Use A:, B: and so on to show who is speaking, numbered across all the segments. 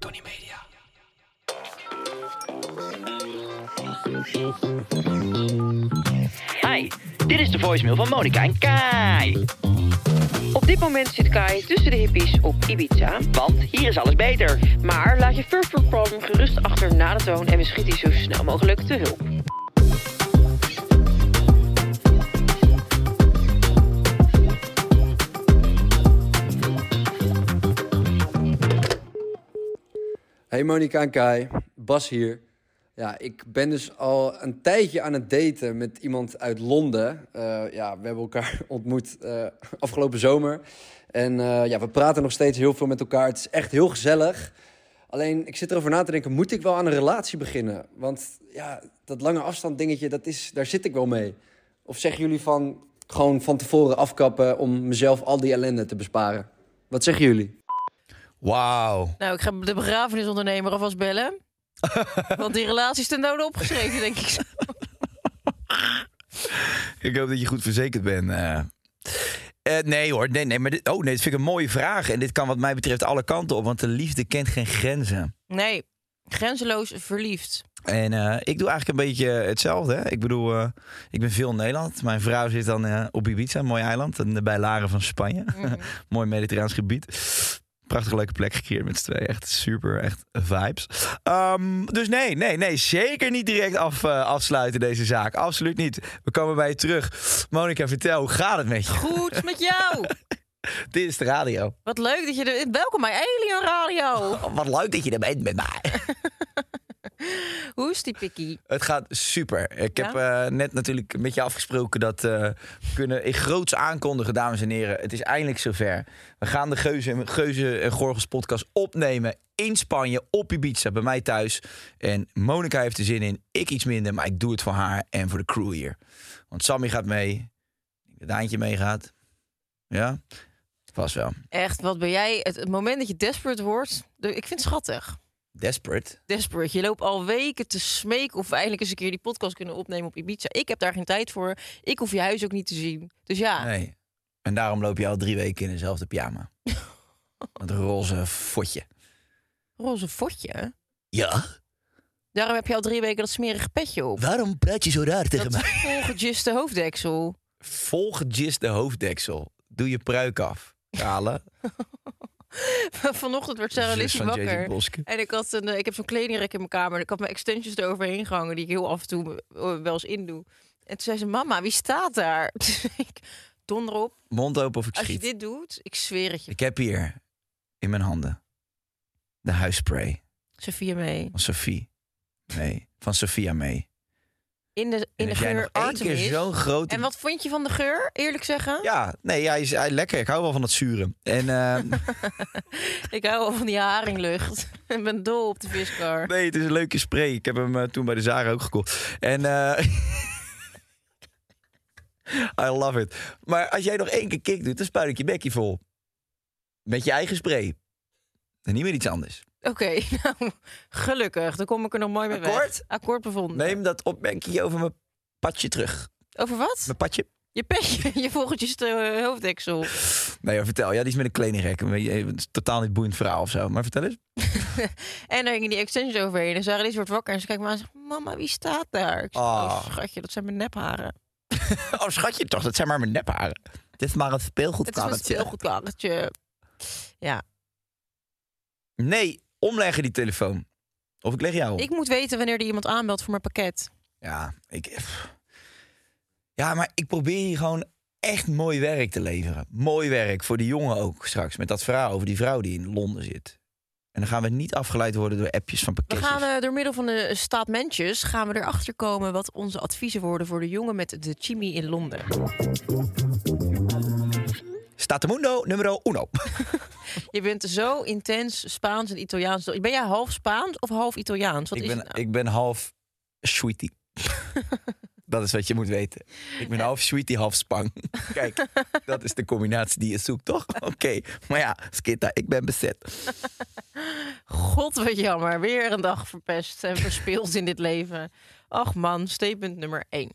A: Tony Media.
B: Hi, dit is de voicemail van Monica en Kai.
C: Op dit moment zit Kai tussen de hippies op Ibiza.
B: Want hier is alles beter.
C: Maar laat je First World Problem gerust achter na de toon en we schieten je zo snel mogelijk te hulp.
D: Hey Monika en Kai, Bas hier. Ja, ik ben dus al een tijdje aan het daten met iemand uit Londen. Eh, ja, we hebben elkaar ontmoet eh, afgelopen zomer. En eh, ja, we praten nog steeds heel veel met elkaar. Het is echt heel gezellig. Alleen, ik zit erover na te denken, moet ik wel aan een relatie beginnen? Want ja, dat lange afstand dingetje, dat is, daar zit ik wel mee. Of zeggen jullie van, gewoon van tevoren afkappen om mezelf al die ellende te besparen? Wat zeggen jullie?
E: Wauw.
F: Nou, ik ga de begrafenisondernemer alvast bellen. Want die relatie is ten dode opgeschreven, denk ik.
E: Ik hoop dat je goed verzekerd bent. eh. Eh, nee hoor, nee, nee, maar dit, oh, nee, dit vind ik een mooie vraag. En dit kan wat mij betreft alle kanten op, want de liefde kent geen grenzen.
F: Nee, grenzeloos verliefd.
E: En eh, ik doe eigenlijk een beetje hetzelfde. Hè? Ik bedoel, eh, ik ben veel in Nederland. Mijn vrouw zit dan eh, op Ibiza, een mooi eiland, en, bij Laren van Spanje. mooi mediterraans gebied. Prachtig leuke plek gecreëerd met z'n tweeën. Echt super, echt vibes. Ehm, dus nee, nee, nee. Zeker niet direct af, eh, afsluiten deze zaak. Absoluut niet. We komen bij je terug. Monika, vertel, hoe gaat het met je?
F: Goed met jou.
E: Dit is de radio.
F: Wat leuk dat je er... Welkom bij Alien Radio.
E: Oh, wat leuk dat je er bent met mij.
F: Hoe is die pikkie?
E: Het gaat super. Ik
F: Ja?
E: heb eh, net natuurlijk met je afgesproken dat eh, we kunnen ik groots aankondigen, dames en heren. Het is eindelijk zover. We gaan de Geuze, Geuze en Gorgels podcast opnemen in Spanje, op Ibiza, bij mij thuis. En Monica heeft er zin in, ik iets minder, maar ik doe het voor haar en voor de crew hier. Want Sammy gaat mee, ik denk dat Daantje meegaat. Ja, vast wel.
F: Echt, wat ben jij... Het, het moment dat je desperate wordt... de- Ik vind het schattig.
E: Desperate.
F: Desperate. Je loopt al weken te smeken of we eindelijk eens een keer die podcast kunnen opnemen op Ibiza. Ik heb daar geen tijd voor. Ik hoef je huis ook niet te zien. Dus ja,
E: Nee. En daarom loop je al drie weken in dezelfde pyjama. Met een roze fotje.
F: roze fotje.
E: Ja,
F: Daarom heb je al drie weken dat smerige petje op.
E: waarom praat je zo raar tegen
F: Dat volgejiste hoofddeksel.
E: Volgejist de hoofddeksel. Doe je pruik af. Kale.
F: Vanochtend werd Sarah
E: zus
F: Lizzie
E: van J.J.
F: wakker.
E: Boske.
F: En ik, had een, eh, ik heb zo'n kledingrek in mijn kamer. Ik had mijn extensions eroverheen gehangen, die ik heel af en toe eh, wel eens indoe. En toen zei ze, mama, wie staat daar? Dus ik, donder op.
E: Mond open of ik
F: Als je
E: schiet.
F: dit doet, ik zweer het je.
E: Ik heb hier in mijn handen de huisspray
F: Sophia mee.
E: van Sophie. Nee, van Sophia mee.
F: In de,
E: En
F: in de
E: heb jij nog
F: geur
E: één keer
F: Artemis.
E: zo'n grote...
F: En wat vond je van de geur, eerlijk zeggen?
E: Ja, nee, hij is hij, lekker. Ik hou wel van het zuren. En eh,
F: Ik hou al van die haringlucht. ik ben dol op de viskar.
E: nee, het is een leuke spray. Ik heb hem eh, toen bij de Zara ook gekocht. En eh, I love it. Maar als jij nog één keer kick doet, dan spuit ik je bekje vol. Met je eigen spray. En niet meer iets anders.
F: Oké, nou, gelukkig. Dan kom ik er nog mooi mee
E: Akkoord?
F: weg. Akkoord bevonden.
E: Neem dat opmerking over mijn padje terug.
F: Over wat?
E: Mijn padje?
F: Je petje, je vogeltjes eh, hoofddeksel.
E: Nee, hoor, vertel. Ja, die is met een kledingrek. Een beetje- eh, het is Totaal niet boeiend verhaal of zo. Maar vertel eens.
F: En daar hingen die extensions overheen. En Sarah Lies wordt wakker en ze kijkt me aan en zegt... Mama, wie staat daar? Ik zeg,
E: Ah.
F: oh, schatje, dat zijn mijn nepharen.
E: Oh, schatje toch. Dat zijn maar mijn nepharen. Het Het is maar een
F: Het is een
E: speelgoedkarretje.
F: speelgoedkarretje. Ja,
E: Nee, omleggen die telefoon. Of ik leg jou op.
F: ik moet weten wanneer er iemand aanbelt voor mijn pakket.
E: Ja, ik... pff. Ja, maar ik probeer hier gewoon echt mooi werk te leveren. Mooi werk voor die jongen ook straks. Met dat verhaal over die vrouw die in Londen zit. En dan gaan we niet afgeleid worden door appjes van
F: We
E: pakketjes.
F: gaan eh, door middel van de staatmentjes gaan we erachter komen wat onze adviezen worden voor de jongen met de chimie in Londen.
E: Statamundo numero uno.
F: Je bent zo intens Spaans en Italiaans. Ben jij half Spaans of half Italiaans? Wat
E: ik,
F: is
E: ben,
F: het nou?
E: ik ben half sweetie. dat is wat je moet weten. Ik ben half sweetie, half spang. Kijk, dat is de combinatie die je zoekt, toch? Oké, maar ja, Skitta, ik ben bezet.
F: God, wat jammer. Weer een dag verpest en verspeeld in dit leven. Ach man, statement nummer één.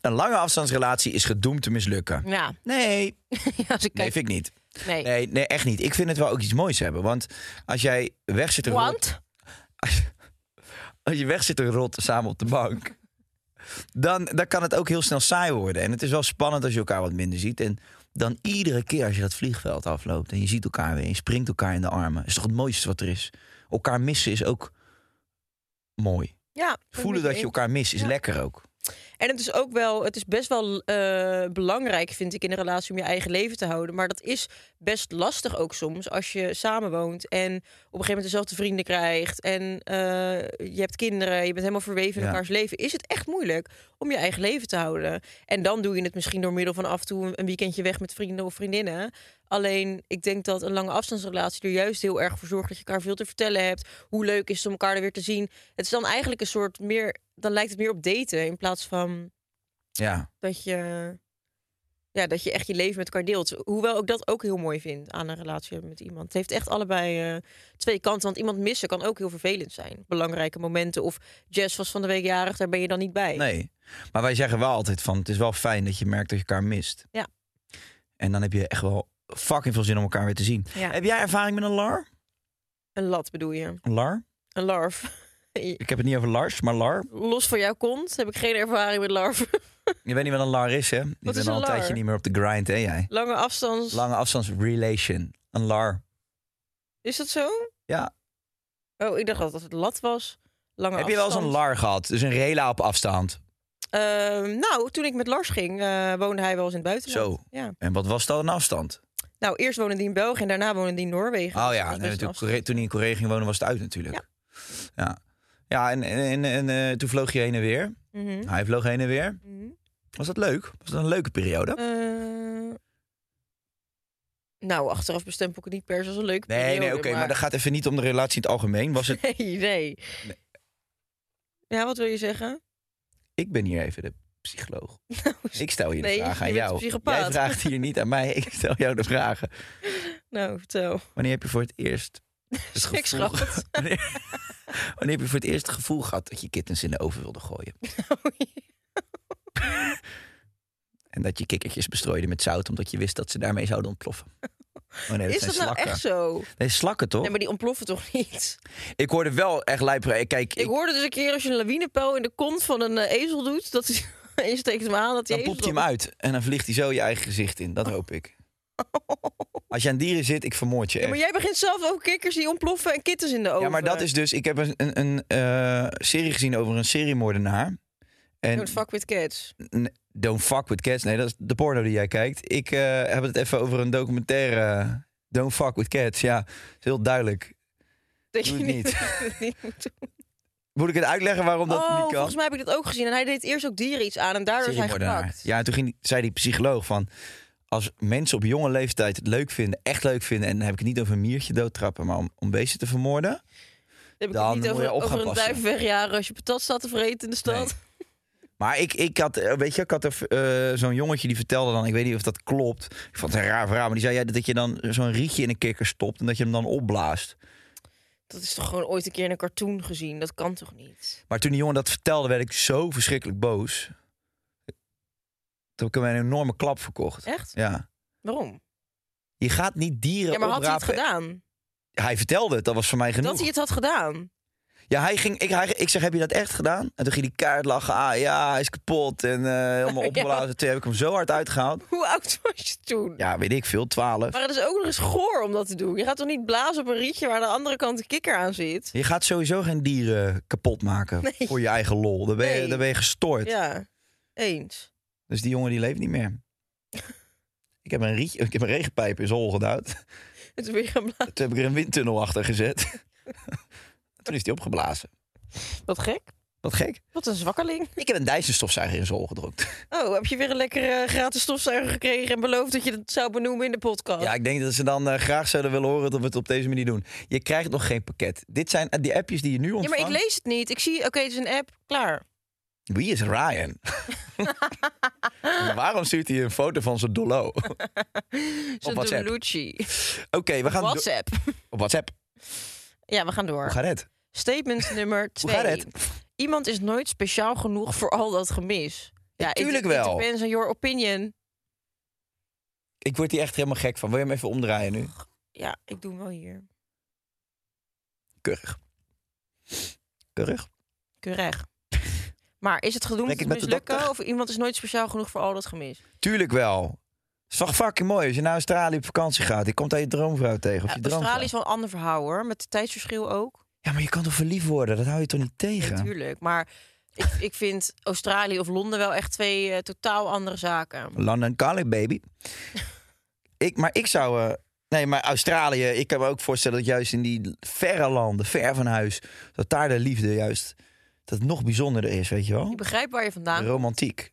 E: Een lange afstandsrelatie is gedoemd te mislukken.
F: Ja,
E: Nee,
F: Nou, als ik
E: nee
F: kijk...
E: vind ik niet.
F: nee.
E: Nee, nee, echt niet. Ik vind het wel ook iets moois hebben. Want als jij weg zit te rot-
F: Want?
E: Als je, als je weg zit te rotten samen op de bank... Dan, dan kan het ook heel snel saai worden. En het is wel spannend als je elkaar wat minder ziet. En dan iedere keer als je het vliegveld afloopt... en je ziet elkaar weer, je springt elkaar in de armen. is toch het mooiste wat er is? Elkaar missen is ook mooi.
F: Ja,
E: Voelen dat je elkaar mist is
F: Ja.
E: lekker ook.
F: En het is ook wel, het is best wel eh, belangrijk, vind ik, in een relatie om je eigen leven te houden. Maar dat is best lastig ook soms als je samenwoont en op een gegeven moment dezelfde vrienden krijgt. En eh, je hebt kinderen, je bent helemaal verweven in
E: Ja.
F: elkaars leven. Is het echt moeilijk om je eigen leven te houden? En dan doe je het misschien door middel van af en toe een weekendje weg met vrienden of vriendinnen. Alleen, ik denk dat een lange afstandsrelatie er juist heel erg voor zorgt dat je elkaar veel te vertellen hebt. Hoe leuk is het om elkaar er weer te zien? Het is dan eigenlijk een soort meer, dan lijkt het meer op daten in plaats van
E: Ja,
F: dat je, ja, dat je echt je leven met elkaar deelt. Hoewel ik dat ook heel mooi vind aan een relatie hebben met iemand. Het heeft echt allebei eh, twee kanten, want iemand missen kan ook heel vervelend zijn. Belangrijke momenten of Jess was van de week jarig, daar ben je dan niet bij.
E: nee. Maar wij zeggen wel altijd van... het is wel fijn dat je merkt dat je elkaar mist.
F: Ja.
E: En dan heb je echt wel fucking veel zin om elkaar weer te zien.
F: Ja.
E: Heb jij ervaring met een lar?
F: Een lat bedoel je,
E: Een lar?
F: een larf.
E: Ik heb het niet over Lars, maar lar.
F: Los van jouw kont heb ik geen ervaring met larven.
E: Je weet niet wat een lar is, hè? Ik
F: is
E: ben al
F: een
E: een
F: lar?
E: tijdje niet meer op de grind, hè jij?
F: Lange afstand.
E: Lange afstandsrelation. Een lar.
F: Is dat zo?
E: Ja.
F: Oh, ik dacht dat het lat was. Lange
E: Heb je wel eens een
F: Oh, afstand.
E: lar gehad? Dus een rela op afstand.
F: Ehm, nou, toen ik met Lars ging, eh, woonde hij wel eens in het buitenland.
E: Zo.
F: Ja.
E: En wat was dat een afstand?
F: Nou, eerst woonde hij in België en daarna woonde hij in Noorwegen.
E: Oh
F: Dus
E: ja,
F: dat is
E: nee,
F: best
E: natuurlijk,
F: lastig.
E: Korea- toen hij in Korea ging wonen was het uit natuurlijk. Ja. Ja, en, en, en, en, eh, toen vloog je heen en weer.
F: Mhm.
E: Hij vloog heen en weer.
F: Mhm.
E: Was dat leuk? Was dat een leuke periode?
F: Eh, nou, achteraf bestempel ik het niet per se als een leuke
E: Nee,
F: periode,
E: nee, oké, maar... dat gaat even niet om de relatie in het algemeen. Was het,
F: Nee, nee. Ja, wat wil je zeggen?
E: ik ben hier even de psycholoog. Ik stel hier de
F: Nou, nee,
E: vraag
F: je
E: aan
F: bent een
E: jou.
F: psychopaat.
E: Jij vraagt hier niet aan mij, ik stel jou de vragen.
F: Nou, vertel.
E: Wanneer heb je voor het eerst het
F: Seks
E: gevoel...
F: gehad.
E: Wanneer, wanneer heb je voor het eerst het gevoel gehad dat je kittens in de oven wilde gooien? En dat je kikkertjes bestrooide met zout omdat je wist dat ze daarmee zouden ontploffen. Oh nee, dat
F: Is
E: zijn
F: dat nou
E: slakken.
F: echt zo?
E: Nee, slakken toch?
F: Nee, maar die ontploffen toch niet?
E: Ik hoorde wel echt lijp. Kijk,
F: Ik
E: ik,
F: hoorde dus een keer als je een lawinepijl in de kont van een eh, ezel doet, dat hij en je steekt hem aan, dat die
E: dan poept
F: ezel
E: hij hem uit en dan vliegt hij zo je eigen gezicht in. Dat hoop ik. Als je aan dieren zit, ik vermoord je echt.
F: Maar jij begint zelf over kikkers die ontploffen en kittens in de oven.
E: Ja, maar dat is dus. Ik heb een, een, een eh, serie gezien over een seriemoordenaar. En
F: Don't fuck with cats.
E: N- Don't fuck with cats. Nee, dat is de porno die jij kijkt. Ik eh, heb het even over een documentaire. eh, Don't fuck with cats. Ja, dat is heel duidelijk.
F: Dat
E: Doe
F: je
E: het
F: niet, niet moet doen.
E: Moet ik het uitleggen waarom dat
F: Oh,
E: niet kan?
F: volgens mij heb ik dat ook gezien. En hij deed eerst ook dieren iets aan en daardoor is hij
E: Seriemoordenaar.
F: gepakt.
E: Ja, en toen ging, die- zei die psycholoog van... als mensen op jonge leeftijd het leuk vinden, echt leuk vinden... en dan heb ik het niet over een miertje doodtrappen... maar om, om beesten te vermoorden...
F: Dan heb ik
E: Dan
F: het niet
E: moet je
F: over,
E: op gaan
F: over een
E: passen.
F: duif wegjaren als je patat staat te vreten in de stad.
E: Maar ik, ik had, eh, weet je, ik had er, eh, zo'n jongetje die vertelde dan, ik weet niet of dat klopt. Ik vond het een raar verhaal, maar die zei ja, dat je dan zo'n rietje in een kikker stopt en dat je hem dan opblaast.
F: Dat is toch gewoon ooit een keer in een cartoon gezien? Dat kan toch niet?
E: Maar toen die jongen dat vertelde, werd ik zo verschrikkelijk boos. Toen heb ik hem een enorme klap verkocht.
F: Echt?
E: Ja.
F: Waarom?
E: Je gaat niet dieren
F: Ja, maar had hij het
E: oprapen.
F: gedaan?
E: Hij vertelde het, dat was voor mij genoeg.
F: Dat hij het had gedaan?
E: Ja, hij ging, ik, hij- ik zeg, heb je dat echt gedaan? En toen ging hij kaart lachen. Ah ja, hij is kapot en eh, helemaal opgeblazen. Toen heb ik hem zo hard uitgehaald.
F: Hoe oud was je toen?
E: Ja, weet ik veel, 12.
F: Maar het is ook nog eens goor om dat te doen. Je gaat toch niet blazen op een rietje waar aan de andere kant een kikker aan zit?
E: Je gaat sowieso geen dieren kapot maken
F: Nee.
E: voor je eigen lol. Dan ben je,
F: Nee.
E: dan ben je gestoord.
F: Ja, eens.
E: Dus die jongen die leeft niet meer. ik, heb een rietje, ik heb een regenpijp in zijn hol geduwd.
F: Het is weer gaan blazen.
E: Toen heb ik er een windtunnel achter gezet. Toen is die opgeblazen.
F: Wat gek.
E: Wat gek.
F: Wat een zwakkeling.
E: Ik heb een Dyson-stofzuiger in zijn hol gedrukt.
F: Oh, heb je weer een lekkere eh, gratis stofzuiger gekregen en beloofd dat je dat zou benoemen in de podcast?
E: Ja, ik denk dat ze dan eh, graag zouden willen horen dat we het op deze manier doen. Je krijgt nog geen pakket. Dit zijn eh, die appjes die je nu
F: Ja,
E: ontvangt.
F: maar ik lees het niet. Ik zie, oké, het is een app, klaar.
E: Wie is Ryan? En Waarom stuurt hij een foto van zijn dollo? Oké,
F: Zo'n
E: WhatsApp.
F: Dolucci.
E: we gaan... do-
F: WhatsApp.
E: Op WhatsApp.
F: Ja, we gaan
E: Hoe
F: door.
E: gaat het?
F: Statement nummer
E: Hoe
F: twee.
E: gaat het?
F: Iemand is nooit speciaal genoeg voor al dat gemis. Ja, it-
E: Tuurlijk
F: it
E: wel.
F: depends on your opinion.
E: Ik word hier echt helemaal gek van. Wil je hem even omdraaien nu?
F: Ja, ik doe hem wel hier.
E: Keurig. Keurig?
F: Keurig. Maar is het gedoemd
E: Denk
F: te
E: ik met de
F: mislukken
E: dokter?
F: of iemand is nooit speciaal genoeg voor al dat gemis?
E: Tuurlijk wel. Het is toch fucking mooi als je naar Australië op vakantie gaat. Je komt daar je droomvrouw tegen. Of
F: Ja,
E: je droomvrouw.
F: Eh, Australië is wel een ander verhaal hoor, met het tijdsverschil ook.
E: Ja, maar je kan toch verliefd worden? Dat hou je toch niet tegen?
F: Natuurlijk, maar ik, ik vind Australië of Londen wel echt twee eh, totaal andere zaken.
E: London Calling, baby. ik, maar ik zou... eh, nee, maar Australië... Ik kan me ook voorstellen dat juist in die verre landen, ver van huis... dat daar de liefde juist... dat het nog bijzonderder is, weet je wel?
F: Ik begrijp waar je vandaan
E: Romantiek.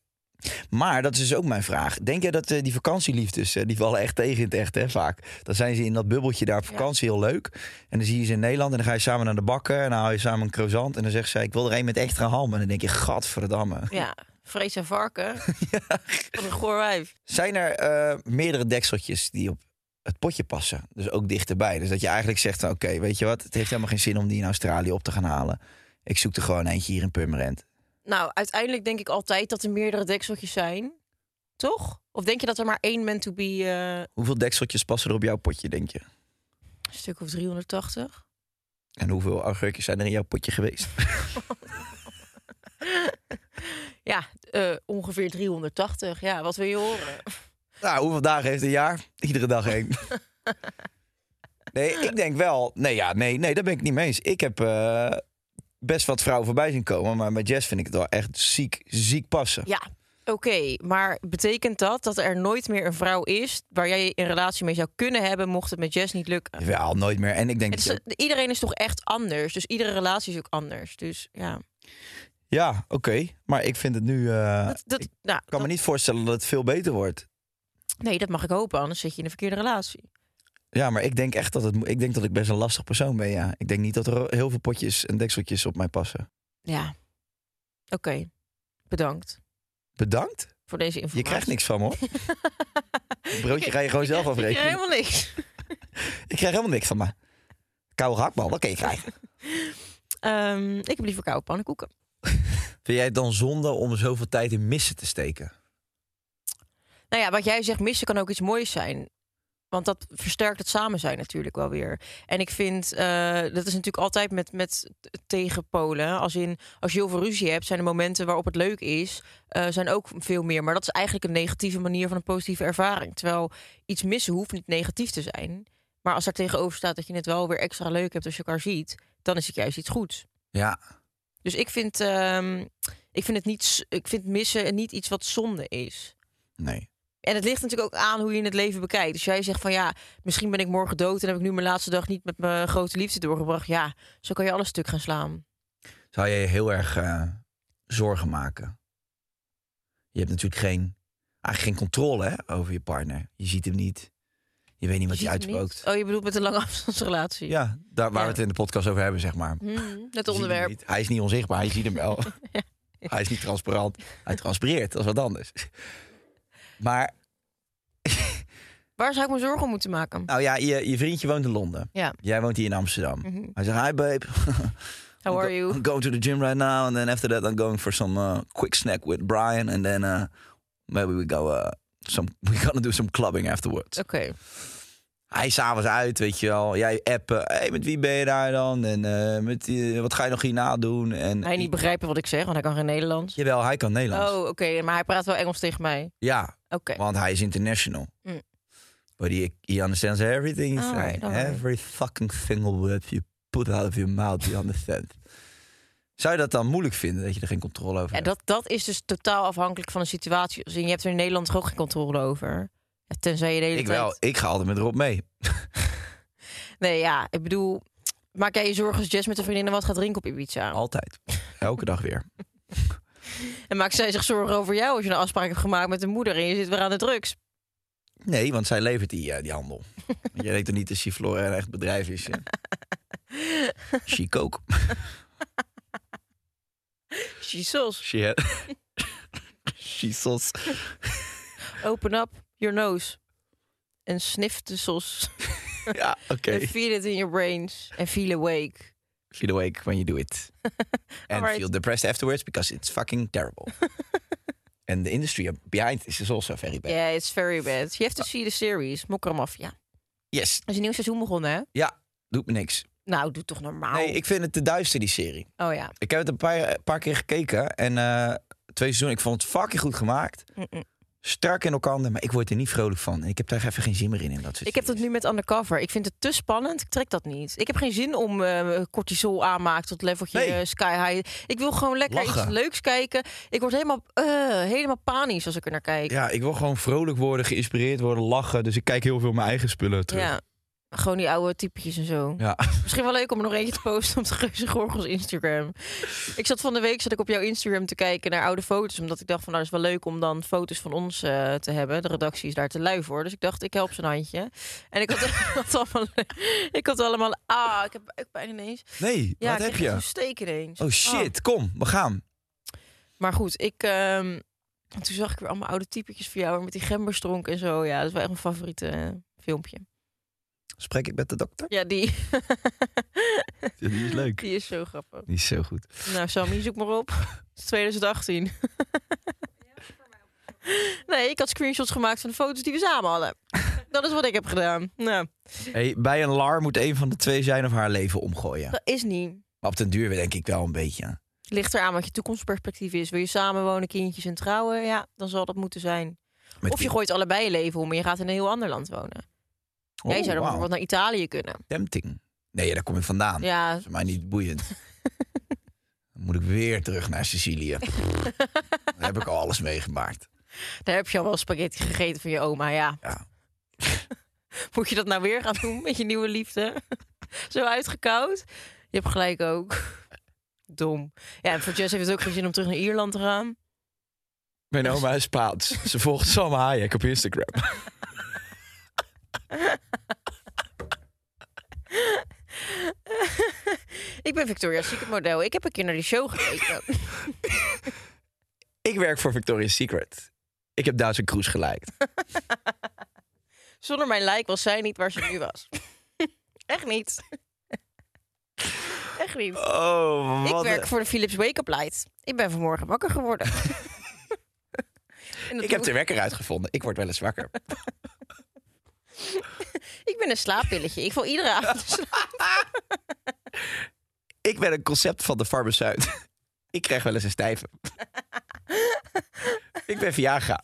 E: Maar dat is dus ook mijn vraag. Denk jij dat eh, die vakantieliefdes, eh, die vallen echt tegen in het echt, hè, vaak. Dan zijn ze in dat bubbeltje daar op vakantie heel leuk. En dan zie je ze in Nederland en dan ga je samen naar de bakken... en dan haal je samen een croissant en dan zegt zij... ik wil er een met extra ham. En dan denk je, gadverdamme.
F: Ja, vrees en varken. Wat een goor wijf.
E: Zijn er eh, meerdere dekseltjes die op het potje passen? Dus ook dichterbij. Dus dat je eigenlijk zegt, van, oké, weet je wat? Het heeft helemaal geen zin om die in Australië op te gaan halen. Ik zoek er gewoon eentje hier in Purmerend.
F: Nou, uiteindelijk denk ik altijd dat er meerdere dekseltjes zijn. Toch? Of denk je dat er maar één man to be eh,
E: Hoeveel dekseltjes passen er op jouw potje, denk je?
F: een stuk of 380?
E: En hoeveel augurkjes zijn er in jouw potje geweest?
F: Ja, eh, ongeveer 380. Ja, wat wil je horen?
E: Nou, hoeveel dagen heeft een jaar? Iedere dag één. nee, ik denk wel. Nee, ja, nee, nee, daar ben ik het niet mee eens. Ik heb eh, best wat vrouwen voorbij zien komen, maar met Jess vind ik het wel echt ziek, ziek passen.
F: Ja, oké. maar betekent dat dat er nooit meer een vrouw is... waar jij een relatie mee zou kunnen hebben... mocht het met Jess niet lukken?
E: Wel, nooit meer. En ik denk.
F: Het
E: dat
F: is,
E: je ook-
F: iedereen is toch echt anders. Dus iedere relatie is ook anders. Dus ja.
E: Ja, oké. Maar ik vind het nu. eh,
F: Dat, dat,
E: ik
F: nou,
E: kan me
F: dat-
E: niet voorstellen dat het veel beter wordt.
F: Nee, dat mag ik hopen. Anders zit je in een verkeerde relatie.
E: Ja, maar ik denk echt dat het. mo- Ik denk dat ik best een lastig persoon ben. Ja, ik denk niet dat er heel veel potjes en dekseltjes op mij passen.
F: Ja. Oké. Bedankt
E: Bedankt.
F: voor deze informatie.
E: Je krijgt niks van me. Hoor. Het broodje ga je gewoon zelf
F: Ik krijg
E: afrekenen.
F: helemaal niks.
E: Ik krijg helemaal niks van me. Koude hakbal, dat kan je krijgen.
F: Ehm, ik heb liever koude pannenkoeken.
E: Vind jij het dan zonde om zoveel tijd in missen te steken?
F: Nou ja, wat jij zegt, missen kan ook iets moois zijn. Want dat versterkt het samen zijn natuurlijk wel weer. En ik vind, eh, dat is natuurlijk altijd met, met tegenpolen. hè. Als in, als je heel veel ruzie hebt, zijn de momenten waarop het leuk is, eh, zijn ook veel meer. Maar dat is eigenlijk een negatieve manier van een positieve ervaring. Terwijl iets missen hoeft niet negatief te zijn. Maar als er tegenover staat dat je het wel weer extra leuk hebt als je elkaar ziet, dan is het juist iets goeds.
E: Ja.
F: Dus ik vind, ehm, ik vind, het niet, s- ik vind missen niet iets wat zonde is.
E: Nee.
F: En het ligt natuurlijk ook aan hoe je het leven bekijkt. Dus jij zegt van ja, misschien ben ik morgen dood en heb ik nu mijn laatste dag niet met mijn grote liefde doorgebracht. Ja, zo kan je alles stuk gaan slaan.
E: Zou jij je heel erg eh, zorgen maken? Je hebt natuurlijk geen, eigenlijk geen controle hè, over je partner. Je ziet hem niet. Je weet niet wat
F: Je
E: hij
F: ziet hem
E: uitspookt.
F: niet. Oh, je bedoelt met een lange afstandsrelatie.
E: Ja, daar waar
F: Ja.
E: we het in de podcast over hebben, zeg maar.
F: Hmm, het
E: Je ziet hem
F: onderwerp.
E: niet. Hij is niet onzichtbaar, hij ziet hem wel. Hij is niet transparant. Hij transpireert, dat is wat anders. Maar,
F: Waar zou ik me zorgen om moeten maken?
E: nou ja, je, je vriendje woont in Londen.
F: Ja. Mhm.
E: Jij woont hier in Amsterdam. Hij zegt, hi babe.
F: How
E: I'm
F: are
E: go-
F: you?
E: I'm going to the gym right now. And then after that, I'm going for some uh, quick snack with Brian. And then uh, maybe we go... Uh, some, we're gonna do some clubbing afterwards.
F: Oké.
E: Hij is s'avonds uit, weet je wel. Jij appen. hey, met wie ben je daar dan? En eh, met, die- wat ga je nog hierna doen? En,
F: Hij niet begrijpen wat ik zeg, want hij kan geen Nederlands.
E: Jawel, hij kan Nederlands.
F: Oh, oké, maar hij praat wel Engels tegen mij.
E: Ja,
F: Oké.
E: want hij is international.
F: Mm. Oh,
E: But he, he understands everything you say.
F: Alright, alright.
E: Every fucking single word you put out of your mouth, he understands. Zou je dat dan moeilijk vinden, dat je er geen controle over
F: Ja,
E: hebt?
F: dat, dat is dus totaal afhankelijk van de situatie. Dus je hebt er in Nederland toch ook geen controle over. Ja, tenzij je de hele
E: ik
F: tijd...
E: wel. Ik ga altijd met Rob mee.
F: Nee, ja, ik bedoel... Maak jij je zorgen als Jess met de vriendinnen wat gaat drinken op Ibiza?
E: Altijd. Elke dag weer.
F: En maakt zij zich zorgen over jou als je een afspraak hebt gemaakt met de moeder... en je zit weer aan de drugs?
E: Nee, want zij levert die, eh, die handel. Je weet toch niet dat Chiflora een echt bedrijf is? hè? She coke.
F: Jesus,
E: She had... She sauce.
F: open up your nose. En sniff the sauce.
E: Ja, oké.
F: And feel it in your brains. And feel awake.
E: Feel awake when you do it. And
F: Alright.
E: feel depressed afterwards because it's fucking terrible. And the industry behind this is also very bad. Ah.
F: Yeah, it's very bad. You have to see the series. Mokkermafia. Er
E: Yes.
F: is een nieuw seizoen begonnen, hè?
E: Ja, doet me niks.
F: Nou, doe toch normaal.
E: Nee, ik vind het te duister, die serie.
F: Oh ja.
E: Ik heb het een paar, een paar keer gekeken. En eh, twee seizoenen, ik vond het fucking goed gemaakt. Sterk in elkaar, maar ik word er niet vrolijk van. En ik heb daar even geen zin meer in. in dat soort
F: Ik heb dat
E: series.
F: nu met undercover. Ik vind het te spannend. Ik trek dat niet. Ik heb geen zin om eh, cortisol aanmaken tot leveltje
E: Nee.
F: eh, sky high. Ik wil gewoon lekker
E: Lachen.
F: iets leuks kijken. Ik word helemaal, eh, helemaal panisch als ik er naar kijk.
E: Ja, ik wil gewoon vrolijk worden, geïnspireerd worden, lachen. Dus ik kijk heel veel mijn eigen spullen terug.
F: Ja. Gewoon die oude typetjes en zo.
E: Ja.
F: Misschien wel leuk om er nog eentje te posten op de Geuze Gorgels Instagram. Ik zat van de week zat ik op jouw Instagram te kijken naar oude foto's. Omdat ik dacht van nou is het wel leuk om dan foto's van ons eh, te hebben. De redactie is daar te lui voor. Dus ik dacht ik help ze een handje. En ik had, had allemaal, ik had allemaal, ah ik heb ik bijna ineens.
E: Nee,
F: Ja,
E: wat
F: ik
E: heb
F: kreeg
E: je?
F: Een steek ineens.
E: Oh shit,
F: Ah.
E: kom, we gaan.
F: Maar goed, ik. ehm, en toen zag ik weer allemaal oude typetjes van jou met die gemberstronk en zo. Ja, dat is wel echt mijn favoriete eh, filmpje.
E: Spreek ik met de dokter?
F: Ja, die.
E: Die is leuk.
F: Die is zo grappig.
E: Die is zo goed.
F: Nou, Sammy, zoek maar op. Het is 2018. Nee, ik had screenshots gemaakt van de foto's die we samen hadden. Dat is wat ik heb gedaan. Nou,
E: Hey, bij een lar moet een van de twee zijn of haar leven omgooien.
F: dat is niet.
E: Maar op den duur denk ik wel een beetje.
F: Ligt eraan wat je toekomstperspectief is. Wil je samenwonen, kindjes en trouwen? Ja, dan zal dat moeten zijn.
E: Met
F: Of je
E: wie-
F: gooit allebei je leven om en je gaat in een heel ander land wonen.
E: Oh,
F: Jij zou dan
E: wauw.
F: bijvoorbeeld naar Italië kunnen.
E: Tempting. Nee, daar kom ik vandaan.
F: Ja,
E: Dat is mij niet boeiend. Dan moet ik weer terug naar Sicilië. daar heb ik al alles meegemaakt.
F: daar heb je al wel spaghetti gegeten van je oma, ja.
E: Ja.
F: Moet je dat nou weer gaan doen met je nieuwe liefde? Zo uitgekoud? Je hebt gelijk ook. Dom. Ja, en voor Jess heeft het ook geen zin om terug naar Ierland te gaan.
E: Mijn oma is Spaans. Ze volgt Sam Hayek op Instagram.
F: Ik ben Victoria's Secret model. Ik heb een keer naar die show gekeken.
E: Ik werk voor Victoria's Secret. Ik heb Duitse Kroes gelijk.
F: Zonder mijn lijk was zij niet waar ze nu was. Echt niet. Echt niet.
E: Oh,
F: Ik
E: wat
F: werk voor de Philips Wake-up Light. Ik ben vanmorgen wakker geworden. En dat
E: Ik
F: doe
E: heb de wekker uitgevonden. Ik word wel eens wakker.
F: Ik ben een slaappilletje. Ik val iedere avond slaap.
E: Ik ben een concept van de farmaceut. Ik krijg wel eens een stijve. Ik ben Viagra.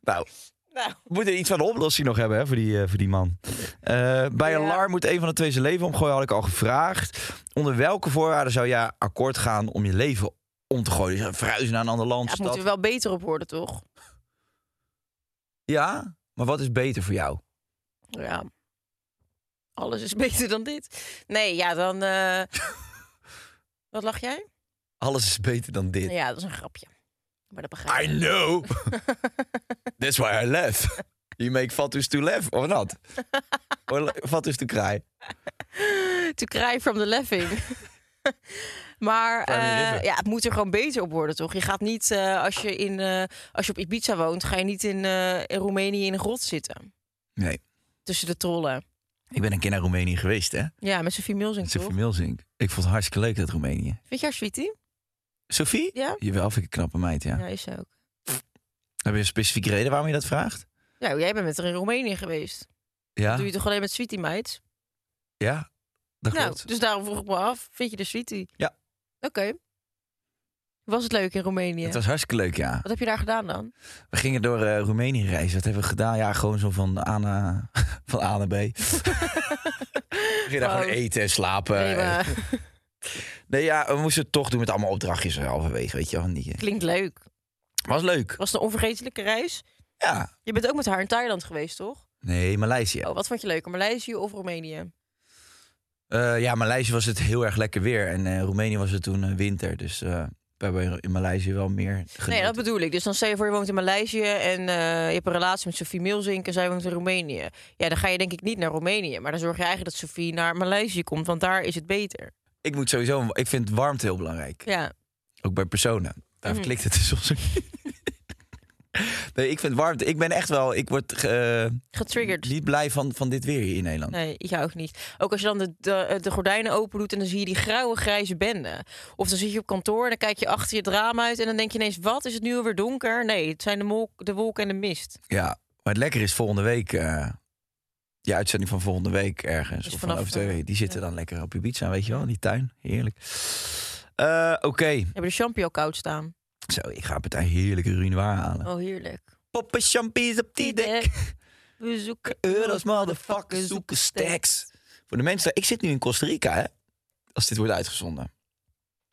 E: Nou,
F: Nou,
E: we moeten iets van de oplossing nog hebben hè, voor, die, eh, voor die man. Eh, bij
F: Ja.
E: een lar moet een van de twee zijn leven omgooien, had ik al gevraagd. Onder welke voorwaarden zou jij akkoord gaan om je leven om te gooien? Dus verhuizen naar een ander land,
F: daar
E: stad?
F: moeten we wel beter op worden, toch?
E: Ja, maar wat is beter voor jou?
F: Ja. Alles is beter dan dit. Nee, ja, dan... eh, Wat lach jij?
E: Alles is beter dan dit.
F: Ja, dat is een grapje. Maar dat begrijp
E: I
F: ik.
E: know. That's why I laugh. You make fatus to laugh, or not? Or fatus to cry.
F: To cry from the laughing. maar
E: Cry me
F: eh,
E: river.
F: ja, het moet er gewoon beter op worden, toch? Je gaat niet, eh, als, je in, eh, als je op Ibiza woont, ga je niet in, eh, in Roemenië in een grot zitten.
E: Nee,
F: Tussen de trollen.
E: ik ben een keer naar Roemenië geweest, hè?
F: Ja, met Sophie Milsing,
E: Met
F: toch?
E: Sophie Milsink. Ik vond het hartstikke leuk, dat Roemenië.
F: Vind je haar sweetie?
E: Sophie?
F: Ja?
E: Jawel, vind ik een knappe meid, ja.
F: Ja, is ze ook.
E: Heb je een specifieke reden waarom je dat vraagt?
F: Nou, jij bent met haar in Roemenië geweest.
E: Ja,
F: doe je toch alleen met sweetie meid?
E: ja dat
F: Nou,
E: klopt.
F: dus daarom vroeg ik me af, vind je de sweetie?
E: Ja.
F: Oké. Was het leuk in Roemenië?
E: Het was hartstikke leuk, ja.
F: Wat heb je daar gedaan dan?
E: We gingen door eh, Roemenië reizen. Wat hebben we gedaan? Ja, gewoon zo van A naar, van A naar B. we gingen daar
F: Wow.
E: gewoon eten en slapen.
F: Nee, maar-
E: Nee, ja, we moesten het toch doen met allemaal opdrachtjes halverwege, weet je wel. Niet, eh.
F: Klinkt leuk.
E: was leuk.
F: Was het een onvergetelijke reis?
E: Ja.
F: Je bent ook met haar in Thailand geweest, toch?
E: Nee, Maleisië.
F: Oh, wat vond je leuker, Maleisië of Roemenië?
E: Eh, ja, Maleisië was het heel erg lekker weer. En eh, Roemenië was het toen eh, winter. Dus eh, we hebben in Maleisië wel meer genoten.
F: Nee, dat bedoel ik. Dus dan stel je voor, je woont in Maleisië en eh, je hebt een relatie met Sofie Milzink en zij woont in Roemenië. Ja, dan ga je denk ik niet naar Roemenië, maar dan zorg je eigenlijk dat Sofie naar Maleisië komt, want daar is het beter.
E: Ik moet sowieso... Ik vind warmte heel belangrijk.
F: Ja,
E: Ook bij personen. Daar
F: Mhm.
E: klikt het dus soms ook niet. Nee, ik vind warmte... Ik ben echt wel... Ik word eh,
F: getriggerd.
E: niet blij van, van dit weer hier in Nederland.
F: Nee, ik ook niet. Ook als je dan de, eh, de, de gordijnen open doet en dan zie je die grauwe grijze bende. Of dan zit je op kantoor en dan kijk je achter je het raam uit en dan denk je ineens, wat is het nu alweer donker? Nee, het zijn de, mol- de wolken en de mist.
E: Ja, maar het lekker is volgende week... eh die uitzending van volgende week ergens.
F: Dus
E: of
F: vanaf,
E: van over twee
F: eh,
E: weken. Die zitten
F: ja.
E: dan lekker op Ibiza, weet je wel. in Die tuin. Heerlijk. Eh, Oké.
F: We hebben de champignon koud staan.
E: Zo, ik ga partij heerlijke ruinoir halen.
F: Oh, heerlijk.
E: Poppen champies op die dek.
F: We zoeken
E: Euro's, motherfucker, zoeken stacks. Voor de mensen, ik zit nu in Costa Rica, hè? Als dit wordt uitgezonden.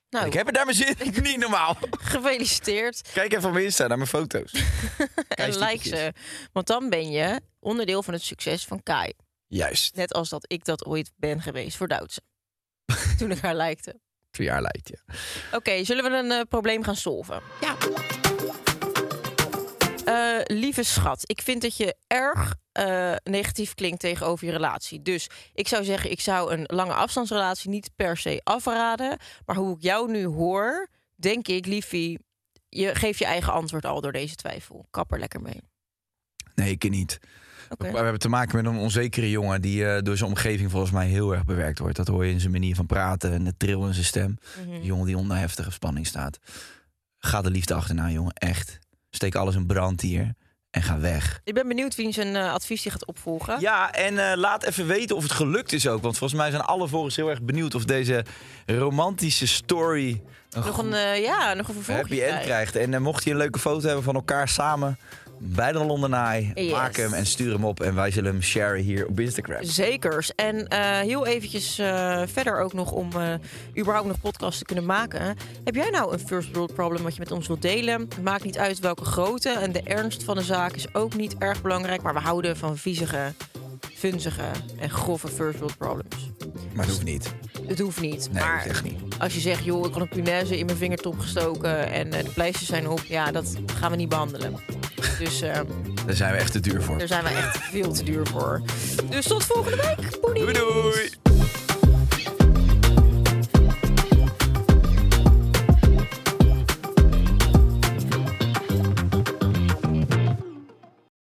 F: Nou,
E: Ik heb het daar mijn zin in. Niet normaal.
F: gefeliciteerd.
E: Kijk even op mijn Insta naar mijn foto's.
F: En like
E: Keistypetjes.
F: ze. Want dan ben je onderdeel van het succes van Kai.
E: Juist.
F: Net als dat ik dat ooit ben geweest voor Duitse. Toen ik haar likte.
E: Verjaarlijkt, ja.
F: Oké, zullen we een eh, probleem gaan solven? Ja. Eh, lieve schat, ik vind dat je erg eh, negatief klinkt tegenover je relatie. Dus ik zou zeggen, ik zou een lange afstandsrelatie niet per se afraden. Maar hoe ik jou nu hoor, denk ik, liefie, je geeft je eigen antwoord al door deze twijfel. Kap er lekker mee.
E: Nee, ik niet.
F: Oké.
E: Maar We hebben te maken met een onzekere jongen die eh, door zijn omgeving volgens mij heel erg bewerkt wordt. Dat hoor je in zijn manier van praten en het trillen in zijn
F: Mm.
E: stem.
F: Mhm.
E: Die jongen die onder heftige spanning staat. Ga de liefde achterna, jongen. Echt. Steek alles in brand hier en ga weg.
F: Ik ben benieuwd wie zijn eh, advies die gaat opvolgen.
E: Ja, en eh, laat even weten of het gelukt is ook. Want volgens mij zijn alle volgers heel erg benieuwd of deze romantische story een
F: nog
E: goed
F: een, eh, ja, nog een vervolgje
E: happy end
F: krijgen.
E: krijgt. En eh, mocht je een leuke foto hebben van elkaar samen bij de Londenaai,
F: Yes.
E: maak hem en stuur hem op. En wij zullen hem sharen hier op Instagram.
F: Zekers. En eh, heel eventjes eh, verder ook nog om eh, überhaupt nog podcasts te kunnen maken. Heb jij nou een first world problem wat je met ons wilt delen? Maakt niet uit welke grootte. En de ernst van de zaak is ook niet erg belangrijk. Maar we houden van viezige, funzige en grove first world problems.
E: Maar dat hoeft niet.
F: Het hoeft niet.
E: Nee,
F: maar
E: dat hoeft echt niet.
F: als je zegt, joh, ik had een punaise in mijn vingertop gestoken... en eh, de pleisters zijn op, ja, dat gaan we niet behandelen. Dus eh,
E: Daar zijn we echt te duur voor.
F: daar zijn we echt veel te duur voor. Dus tot volgende week. Poedies.
E: Doei doei!